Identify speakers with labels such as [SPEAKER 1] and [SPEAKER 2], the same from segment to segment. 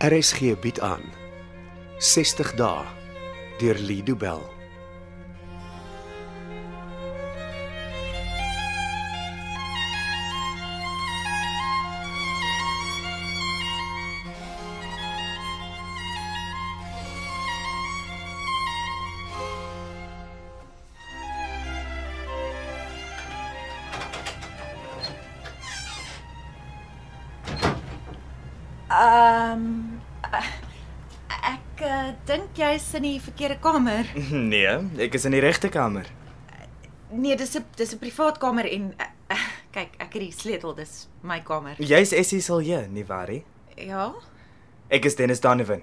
[SPEAKER 1] RSG bied aan 60 dae deur Lido Bell.
[SPEAKER 2] Ehm eh, ek uh, dink jy's in die verkeerde kamer.
[SPEAKER 3] Nee, ek is in die regte kamer.
[SPEAKER 2] Nee, dis 'n dis 'n privaat kamer en uh, uh, kyk, ek het die sleutel, dis my kamer.
[SPEAKER 3] Jy's Essie Silje, nie waar nie?
[SPEAKER 2] Ja,
[SPEAKER 3] Ek is Dennis Donovan.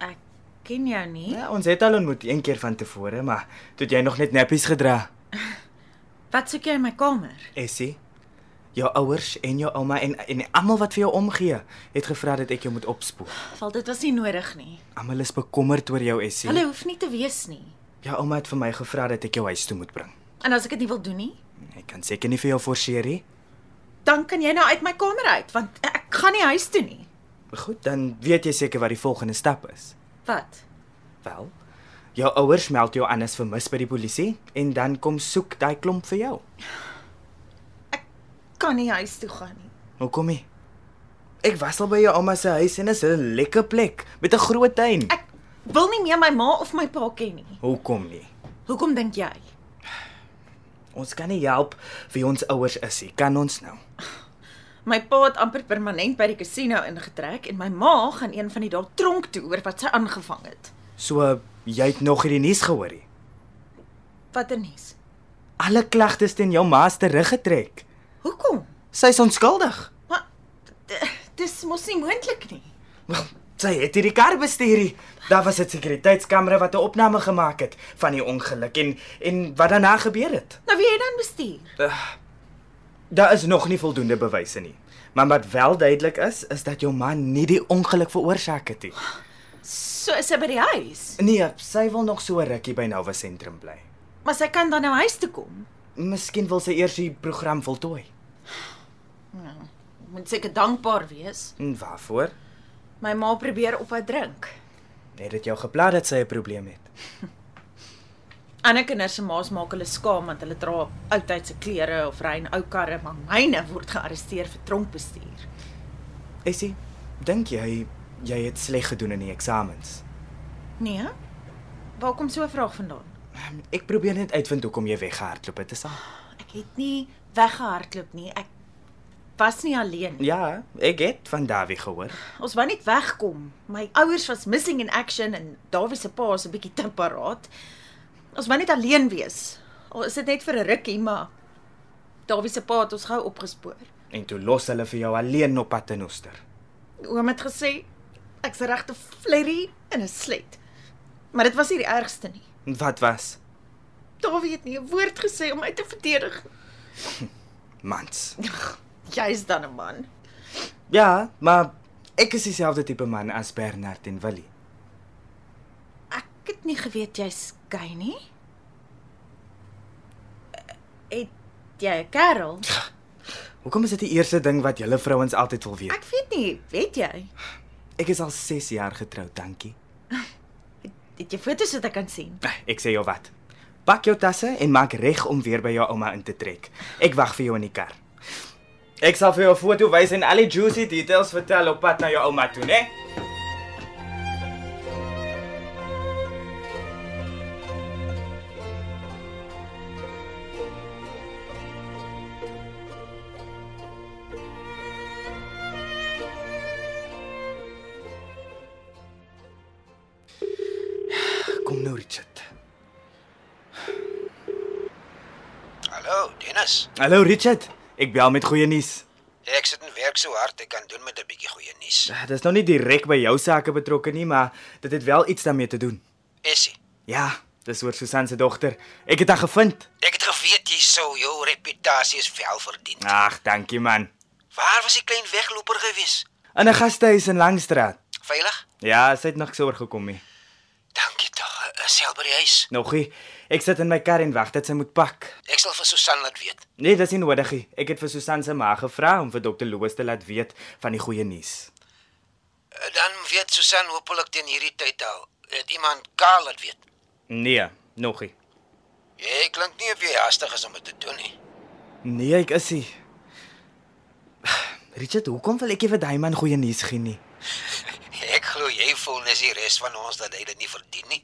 [SPEAKER 2] ek ken jou nie.
[SPEAKER 3] Ja, ons het al ontmoet een keer van tevore, maar toe het jy nog net nappies gedra.
[SPEAKER 2] Wat soek jy in my kamer?
[SPEAKER 3] Essie, jou ouers en jou ouma en en almal wat vir jou omgee, het gevra dat ek jou moet opspoor.
[SPEAKER 2] Wel, dit was nie nodig nie.
[SPEAKER 3] Almal is bekommerd oor jou, Essie.
[SPEAKER 2] Hulle hoef nie te weet nie.
[SPEAKER 3] Jou ouma het vir my gevra dat ek jou huis toe moet bring.
[SPEAKER 2] En as ek dit nie wil doen nie,
[SPEAKER 3] Ek kan seker nie vir jou forceer nie.
[SPEAKER 2] dan kan jy nou uit my kamer uit want ek gaan nie huis toe nie.
[SPEAKER 3] Goed, dan weet jy seker wat die volgende stap is.
[SPEAKER 2] Wat?
[SPEAKER 3] Wel, jou ouers meld jou aan as vermis by die polisie en dan kom soek daai klomp vir jou.
[SPEAKER 2] Kan nie huis toe gaan nie.
[SPEAKER 3] Hoekom nie? Ek was al by jou ouma se huis en dit is 'n lekker plek met 'n groot tuin.
[SPEAKER 2] Ek wil nie meer my ma of my pa ken nie.
[SPEAKER 3] Hoekom nie?
[SPEAKER 2] Hoekom dink jy?
[SPEAKER 3] Ons kan nie help wie ons ouers is nie. Kan ons nou?
[SPEAKER 2] My pa het amper permanent by die casino ingetrek en my ma gaan een van die dae tronk toe oor wat sy aangevang het.
[SPEAKER 3] So jy het nog hierdie nuus gehoor nie.
[SPEAKER 2] Wat 'n nuus.
[SPEAKER 3] Alle klagtes teen jou ma is teruggetrek.
[SPEAKER 2] Hoekom?
[SPEAKER 3] Sy's onskuldig.
[SPEAKER 2] Maar d- dis mos nie moontlik nie.
[SPEAKER 3] Wel, sy het hierdie kar bestuur. nie. Daar was 'n sekuriteitskamera wat 'n opname gemaak het van die ongeluk en en wat daarna gebeur het.
[SPEAKER 2] Nou wie het dan bestuur?
[SPEAKER 3] Daar is nog nie voldoende bewyse nie. Maar wat wel duidelik is, is dat jou man nie die ongeluk veroorsaak het nie.
[SPEAKER 2] So is sy by die huis.
[SPEAKER 3] Nee, sy wil nog so rukkie by Nova Sentrum bly.
[SPEAKER 2] Maar sy kan dan nou huis toe kom.
[SPEAKER 3] Miskien wil sy eers die program voltooi.
[SPEAKER 2] Moet seker dankbaar wees.
[SPEAKER 3] En waarvoor?
[SPEAKER 2] My ma probeer ophou drink.
[SPEAKER 3] Net dit jou gepla dat sy 'n probleem het.
[SPEAKER 2] Ander kinders se ma's maak hulle skaam want hulle dra oudtydse klere of ry in ou karre, maar myne word gearresteer vir tronkbestuur.
[SPEAKER 3] Essie, dink jy jy het sleg gedoen in die eksamens?
[SPEAKER 2] Nee. Waar kom so 'n vraag vandaan?
[SPEAKER 3] Ek probeer net uitvind hoekom jy weggehardloop het, is al.
[SPEAKER 2] Ek het nie weggehardloop nie. Ek was nie alleen nie.
[SPEAKER 3] Ja, ek het van Dawie gehoor.
[SPEAKER 2] Ons wou net wegkom. My ouers was missing in action en Dawie se pa is 'n bietjie te paraat. Ons wou net alleen wees. Al is dit net vir 'n rukkie, maar Dawie se pa het ons gou opgespoor.
[SPEAKER 3] En toe los hulle vir jou alleen op pad in Oester.
[SPEAKER 2] Oom het gesê ek's regte flerry in 'n slet. Maar dit was nie die ergste nie.
[SPEAKER 3] Wat was?
[SPEAKER 2] Dawie het nie 'n woord gesê om my te verdedig.
[SPEAKER 3] Mans.
[SPEAKER 2] Jy's dan 'n man.
[SPEAKER 3] Ja, maar ek is dieselfde tipe man as Bernard en Willie.
[SPEAKER 2] Ek het nie geweet jy's gay nie. Eh, Het jy 'n kerel?
[SPEAKER 3] Hoekom is dit die eerste ding wat julle vrouens altyd wil weet?
[SPEAKER 2] Ek weet nie, weet jy?
[SPEAKER 3] Ek is al 6 jaar getroud, dankie.
[SPEAKER 2] Het jy foto's wat ek kan sien?
[SPEAKER 3] Ah, Ek sê jou wat. Pak jou tasse en maak reg om weer by jou ouma in te trek. Ek wag vir jou in die kar. Ek sal vir jou 'n foto wys en al die juicy details vertel op pad na jou ouma toe, né? Kom nou, Richard.
[SPEAKER 4] Hallo, Dennis.
[SPEAKER 3] Hallo Richard. Ek bel met goeie nuus.
[SPEAKER 4] Ek sit en werk so hard ek kan doen met 'n bietjie goeie nuus.
[SPEAKER 3] Ah, Dis nou nie direk by jou sake betrokke nie, maar dit het wel iets daarmee te doen.
[SPEAKER 4] Essie,
[SPEAKER 3] Ja, dis oor Susan se dogter. Ek het haar gevind.
[SPEAKER 4] ek het geweet jy sou jou reputasie is wel verdien.
[SPEAKER 3] Ag, dankie man.
[SPEAKER 4] Waar was die klein wegloper gewees?
[SPEAKER 3] In 'n gastehuis in Langstraat.
[SPEAKER 4] Veilig?
[SPEAKER 3] Ja, sy het nog soor gekom nie.
[SPEAKER 4] Dankie tog. Self by die huis.
[SPEAKER 3] Nogie, ek sit in my kar en wag dat sy moet pak.
[SPEAKER 4] Ek sal vir Susan laat weet.
[SPEAKER 3] Nee, dis nie nodig nie. Ek het vir Susan se ma gevra om vir dokter Loos te laat weet van die goeie nuus.
[SPEAKER 4] Eh, Dan weet Susan hopelik teen hierdie tyd al. Het iemand Karl laat weet?
[SPEAKER 3] Nee, nog nie.
[SPEAKER 4] Jy klink nie of jy haastig is om dit te doen nie.
[SPEAKER 3] Nee, ek is nie. Richard, hoekom wil ek nie vir daai man goeie nuus gee nie?
[SPEAKER 4] Ek glo jy voel nes die res van ons dat hy dit nie verdien nie.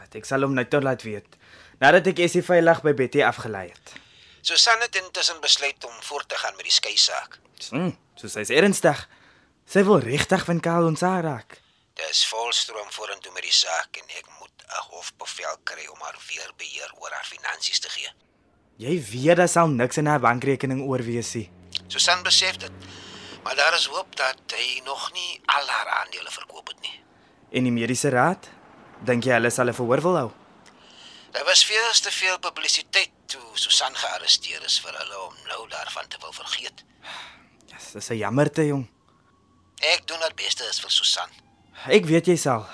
[SPEAKER 3] Wat ek sal hom nou tot laat weet. Nadat ek Essie veilig by Betty afgelei het.
[SPEAKER 4] Susan het intussen besluit om voort te gaan met die skei saak.
[SPEAKER 3] Mm, so sy's ernstig. Sy wil regtig van Karl ons raak.
[SPEAKER 4] Dis volstroom vorentoe met die saak en ek moet 'n hofbevel kry om haar weer beheer oor haar finansies te gee.
[SPEAKER 3] Jy weet daar sal niks in haar bankrekening oorwees nie.
[SPEAKER 4] Susan besef dit, maar daar is hoop dat hy nog nie al haar aandele verkoop het nie.
[SPEAKER 3] En die mediese raad? Dink jy hulle sal 'n verhoor wil hou?
[SPEAKER 4] Daar was veel te veel publisiteit toe Susan gearresteer is vir hulle om nou daarvan te wil vergeet.
[SPEAKER 3] Ja, dis 'n jammerte, jong.
[SPEAKER 4] Ek doen het beste is vir Susan.
[SPEAKER 3] Ek weet jy sal.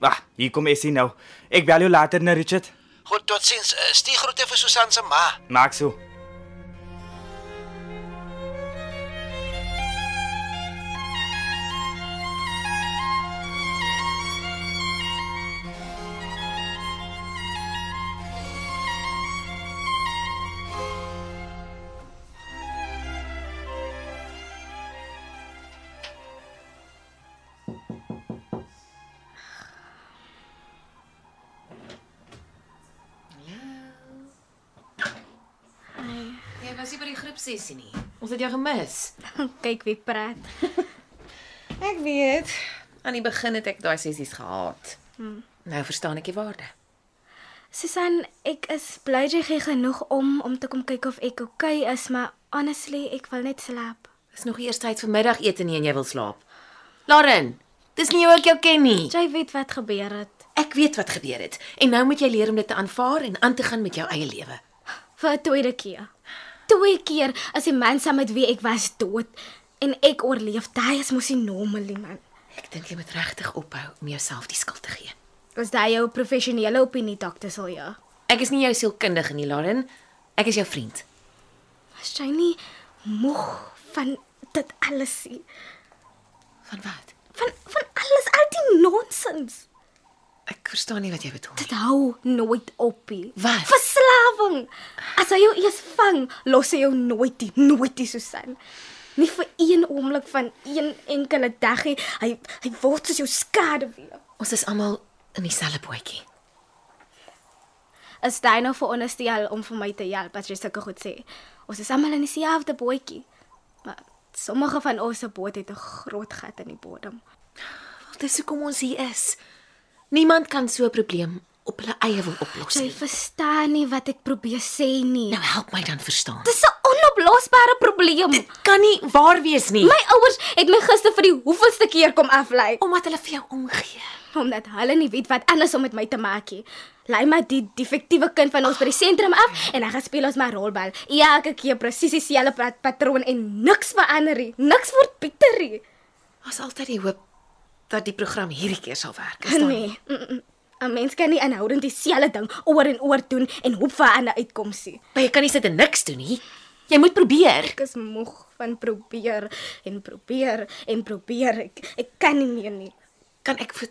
[SPEAKER 3] Wag, hier kom Essie nou. Ek bel jou later, né, Richard?
[SPEAKER 4] Goed, totsiens. Eh, Stuur groete vir Susan se ma.
[SPEAKER 3] Maak so.
[SPEAKER 5] Jy was nie by die groepsessie nie. Ons het jou gemis.
[SPEAKER 6] Kyk wie praat.
[SPEAKER 5] Ek weet. Aan die begin het ek daai sessies gehaat. Hmm. Nou verstaan ek die waarde.
[SPEAKER 6] Susan, ek is bly jy gee genoeg om om te kom kyk of ek oukei okay is, maar honestly, ek wil net slaap.
[SPEAKER 5] Dis nog eers tyd vir middagete nie en jy wil slaap. Lauren, dis nie hoe ek jou ken nie.
[SPEAKER 6] Jy weet wat gebeur het.
[SPEAKER 5] Ek weet wat gebeur het en nou moet jy leer om dit te aanvaar en aan te gaan met jou eie lewe.
[SPEAKER 6] Vir 'n tweede keer. Twee keer as die man saam met wie ek was dood en ek oorleef. Daai is mos nie normaal nie, man.
[SPEAKER 5] Ek dink jy moet regtig ophou om jouself die skuld te gee.
[SPEAKER 6] Is daai jou professionele opinie, dokter Silja?
[SPEAKER 5] Ek is nie jou sielkundige nie, Lauren. Ek is jou vriend.
[SPEAKER 6] Is jy nie moeg van dit alles nie?
[SPEAKER 5] Van wat?
[SPEAKER 6] Van van alles al die nonsens.
[SPEAKER 5] Ek verstaan nie wat jy bedoel nie.
[SPEAKER 6] Dit hou nooit op nie.
[SPEAKER 5] Wat?
[SPEAKER 6] Verslawing. As hy jou eers vang, los hy jou nooit nie, nooit nie, Susan. Nie vir een oomblik van een enkele dag nie. Hy hy word soos jou skade weer.
[SPEAKER 5] Ons is almal in dieselfde bootjie.
[SPEAKER 6] Is jy nou veronderstel om vir my te help as jy sulke goed sê? Ons is almal in dieselfde bootjie. Maar sommige van ons se boot het 'n groot gat in die bodem.
[SPEAKER 5] Wel, dis hoekom ons hier is. Niemand kan so 'n probleem op hulle eie wil oplos
[SPEAKER 6] Jy
[SPEAKER 5] nie.
[SPEAKER 6] verstaan nie wat ek probeer sê nie.
[SPEAKER 5] Nou help my dan verstaan.
[SPEAKER 6] Dis 'n onoplosbare probleem.
[SPEAKER 5] Dit kan nie waar wees nie.
[SPEAKER 6] My ouers het my gister vir die hoeveelste keer kom aflei
[SPEAKER 5] omdat hulle vir jou omgee.
[SPEAKER 6] omdat hulle nie weet wat anders om met my te maak nie. Lei my die defektiewe kind van ons by die sentrum af en dan gaan speel ons maar rolbal. Elke keer presies dieselfde pat patroon en niks verander nie. Niks word beter nie.
[SPEAKER 5] Ons altyd die hoop dat die program hierdie keer sal werk. Is daar nie?
[SPEAKER 6] Nee. mm, mm. 'n Mens kan nie aanhoudend dieselfde ding oor en oor doen en hoop vir 'n ander uitkoms nie.
[SPEAKER 5] Maar jy kan nie sit en niks doen nie. Jy moet probeer.
[SPEAKER 6] Ek is moeg van probeer en probeer en probeer. Ek, ek kan nie meer nie.
[SPEAKER 5] Kan ek vir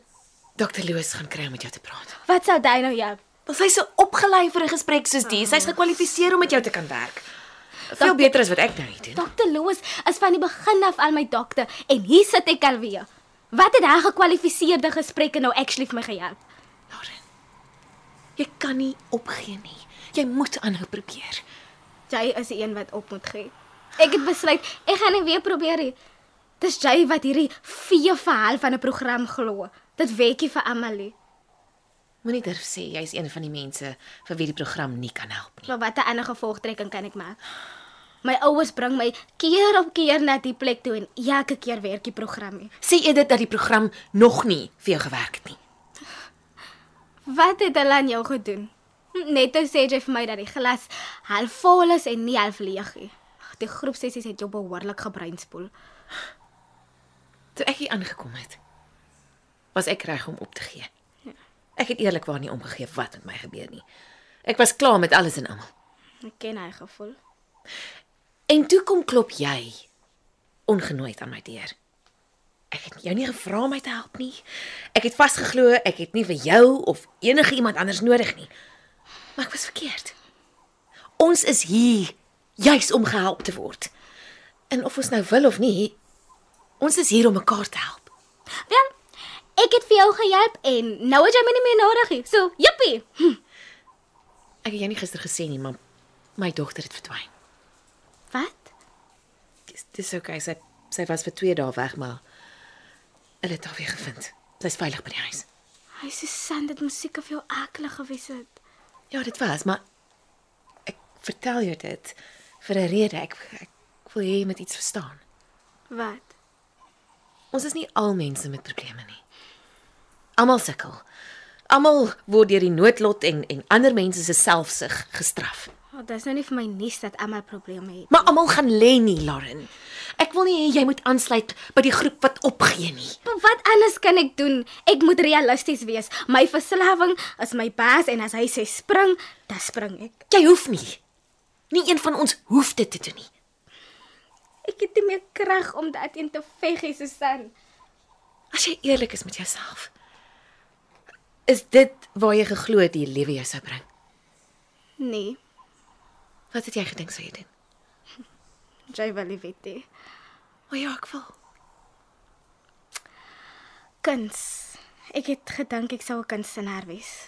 [SPEAKER 5] Dr. Loos gaan kry om met jou te praat?
[SPEAKER 6] Wat sal jy nou help?
[SPEAKER 5] Want sy's so opgelei vir 'n gesprek soos die. Sy's gekwalifiseer om met jou te kan werk. Veel beter as wat ek nou hier doen.
[SPEAKER 6] Dokter Loos is van die begin af al my dokter en hier sit ek alweer. Wat het hy gekwalifiseerde gesprekke nou actually vir my gehelp?
[SPEAKER 5] Lauren. Jy kan nie opgee nie. Jy moet aanhou probeer.
[SPEAKER 6] Jy is die een wat op moet gee. Ek het besluit ek gaan nie weer probeer nie. Dis jy wat hierdie vee verhaal van 'n program glo. Dit wekkie vir Amalie.
[SPEAKER 5] Moenie durf sê jy's een van die mense vir wie die program nie kan help nie.
[SPEAKER 6] Maar watter ander gevolgtrekking kan ek maak? My ouers bring my keer op keer na die plek toe en elke keer werk die program nie.
[SPEAKER 5] Sê jy dit dat die program nog nie vir jou gewerk het nie?
[SPEAKER 6] Wat het hulle aan jou gedoen? Net toe sê jy vir my dat die glas half vol is en nie half leeg nie. Ag, Die groepsessies het jou behoorlik gebreinspoel.
[SPEAKER 5] Toe ek hier aangekom het, was ek reg om op te gee. Ek het eerlikwaar nie omgegee wat met my gebeur nie. Ek was klaar met alles en almal.
[SPEAKER 6] Ek ken hy gevoel.
[SPEAKER 5] En toe kom klop jy ongenooi aan my deur. Ek het jou nie gevra om my te help nie. Ek het vasgeglo ek het nie vir jou of enige iemand anders nodig nie. Maar ek was verkeerd. Ons is hier juis om gehelp te word. En of ons nou wil of nie, ons is hier om mekaar te help.
[SPEAKER 6] Wel, ek het vir jou gehelp en nou het jy my nie meer nodig nie. So, jippie. Hm,
[SPEAKER 5] Ek het jou nie gister gesê nie, maar my dogter het verdwyn.
[SPEAKER 6] wat?
[SPEAKER 5] Dis dis okay. Sy sy was vir 2 dae weg, maar hulle het haar weer gevind. Sy's veilig by die huis.
[SPEAKER 6] Hy Susan, dit moet seker vir jou akelig gewees het.
[SPEAKER 5] Ja, dit was, maar ek vertel jou dit vir 'n rede. Ek ek wil hê jy moet iets verstaan.
[SPEAKER 6] Wat?
[SPEAKER 5] Ons is nie al mense met probleme nie. Almal sukkel. Almal word deur die noodlot en en ander mense se selfsug gestraf.
[SPEAKER 6] Oh, dis nou nie vir my nuus dat almal probleme het.
[SPEAKER 5] Maar almal gaan lê nie, Lauren. Ek wil nie hê jy moet aansluit by die groep wat opgee nie.
[SPEAKER 6] Maar Wat anders kan ek doen? Ek moet realisties wees. My verslawing is my baas en as hy sê spring, dan spring ek.
[SPEAKER 5] Jy hoef nie. Nie een van ons hoef dit te doen nie.
[SPEAKER 6] Ek het nie meer krag om daarteen te veg, nie, Susan.
[SPEAKER 5] As jy eerlik is met jouself, is dit waar jy geglo het die lewe jou sou bring.
[SPEAKER 6] Nee,
[SPEAKER 5] Wat het jy gedink sou jy doen?
[SPEAKER 6] jy wil nie weet nie.
[SPEAKER 5] O ja, ek wil.
[SPEAKER 6] Kuns. Ek het gedink ek sou 'n kunstenaar wees.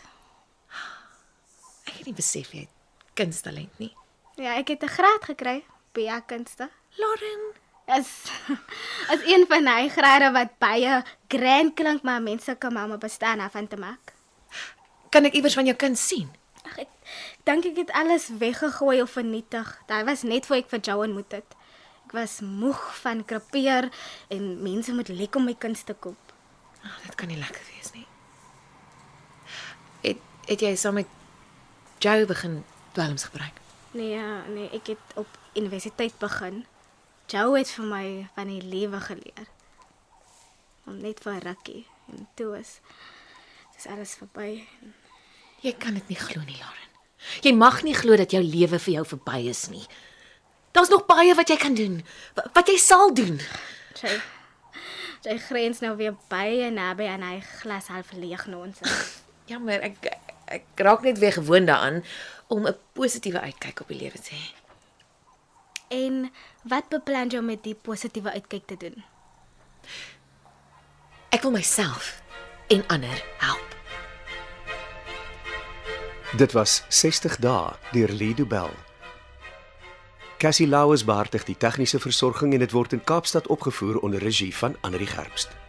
[SPEAKER 5] Ek het nie besef jy het kunsttalent nie.
[SPEAKER 6] Ja, ek het 'n graad gekry by kunste.
[SPEAKER 5] Lauren,
[SPEAKER 6] As as een van hy grade wat baie grand klink, maar mense kan mamma bestaan af van te maak.
[SPEAKER 5] kan ek iewers van jou kind sien?
[SPEAKER 6] Ag ek ek dink ek het alles weggegooi of vernietig. Dit was net voor ek vir jou ontmoet het. Ek was moeg van krepeer en mense moet lek om my kuns te koop.
[SPEAKER 5] Oh, dit kan nie lekker wees nie. Het het jy saam met Joe begin dwelms gebruik?
[SPEAKER 6] Nee, ja, nee, ek het op universiteit begin. Jou het vir my van die lewe geleer. Om net vir 'n rukkie en toe is dis alles verby.
[SPEAKER 5] Jy kan dit nie glo nie, Lauren. Jy mag nie glo dat jou lewe vir jou verby is nie. Daar's nog baie wat jy kan doen, wa- wat jy sal doen.
[SPEAKER 6] Sy sy grens nou weer baie naby aan hy glas half leeg na ons.
[SPEAKER 5] Jammer, ek ek raak net weer gewoond daaraan om 'n positiewe uitkyk op die lewe te hê.
[SPEAKER 6] En wat beplan jy om met die positiewe uitkyk te doen?
[SPEAKER 5] Ek wil myself en ander help.
[SPEAKER 1] Dit was 60 dae deur Lido Bell. Cassie Lauers beheer die tegniese versorging en dit word in Kaapstad opgevoer onder regie van Anri Gerbst.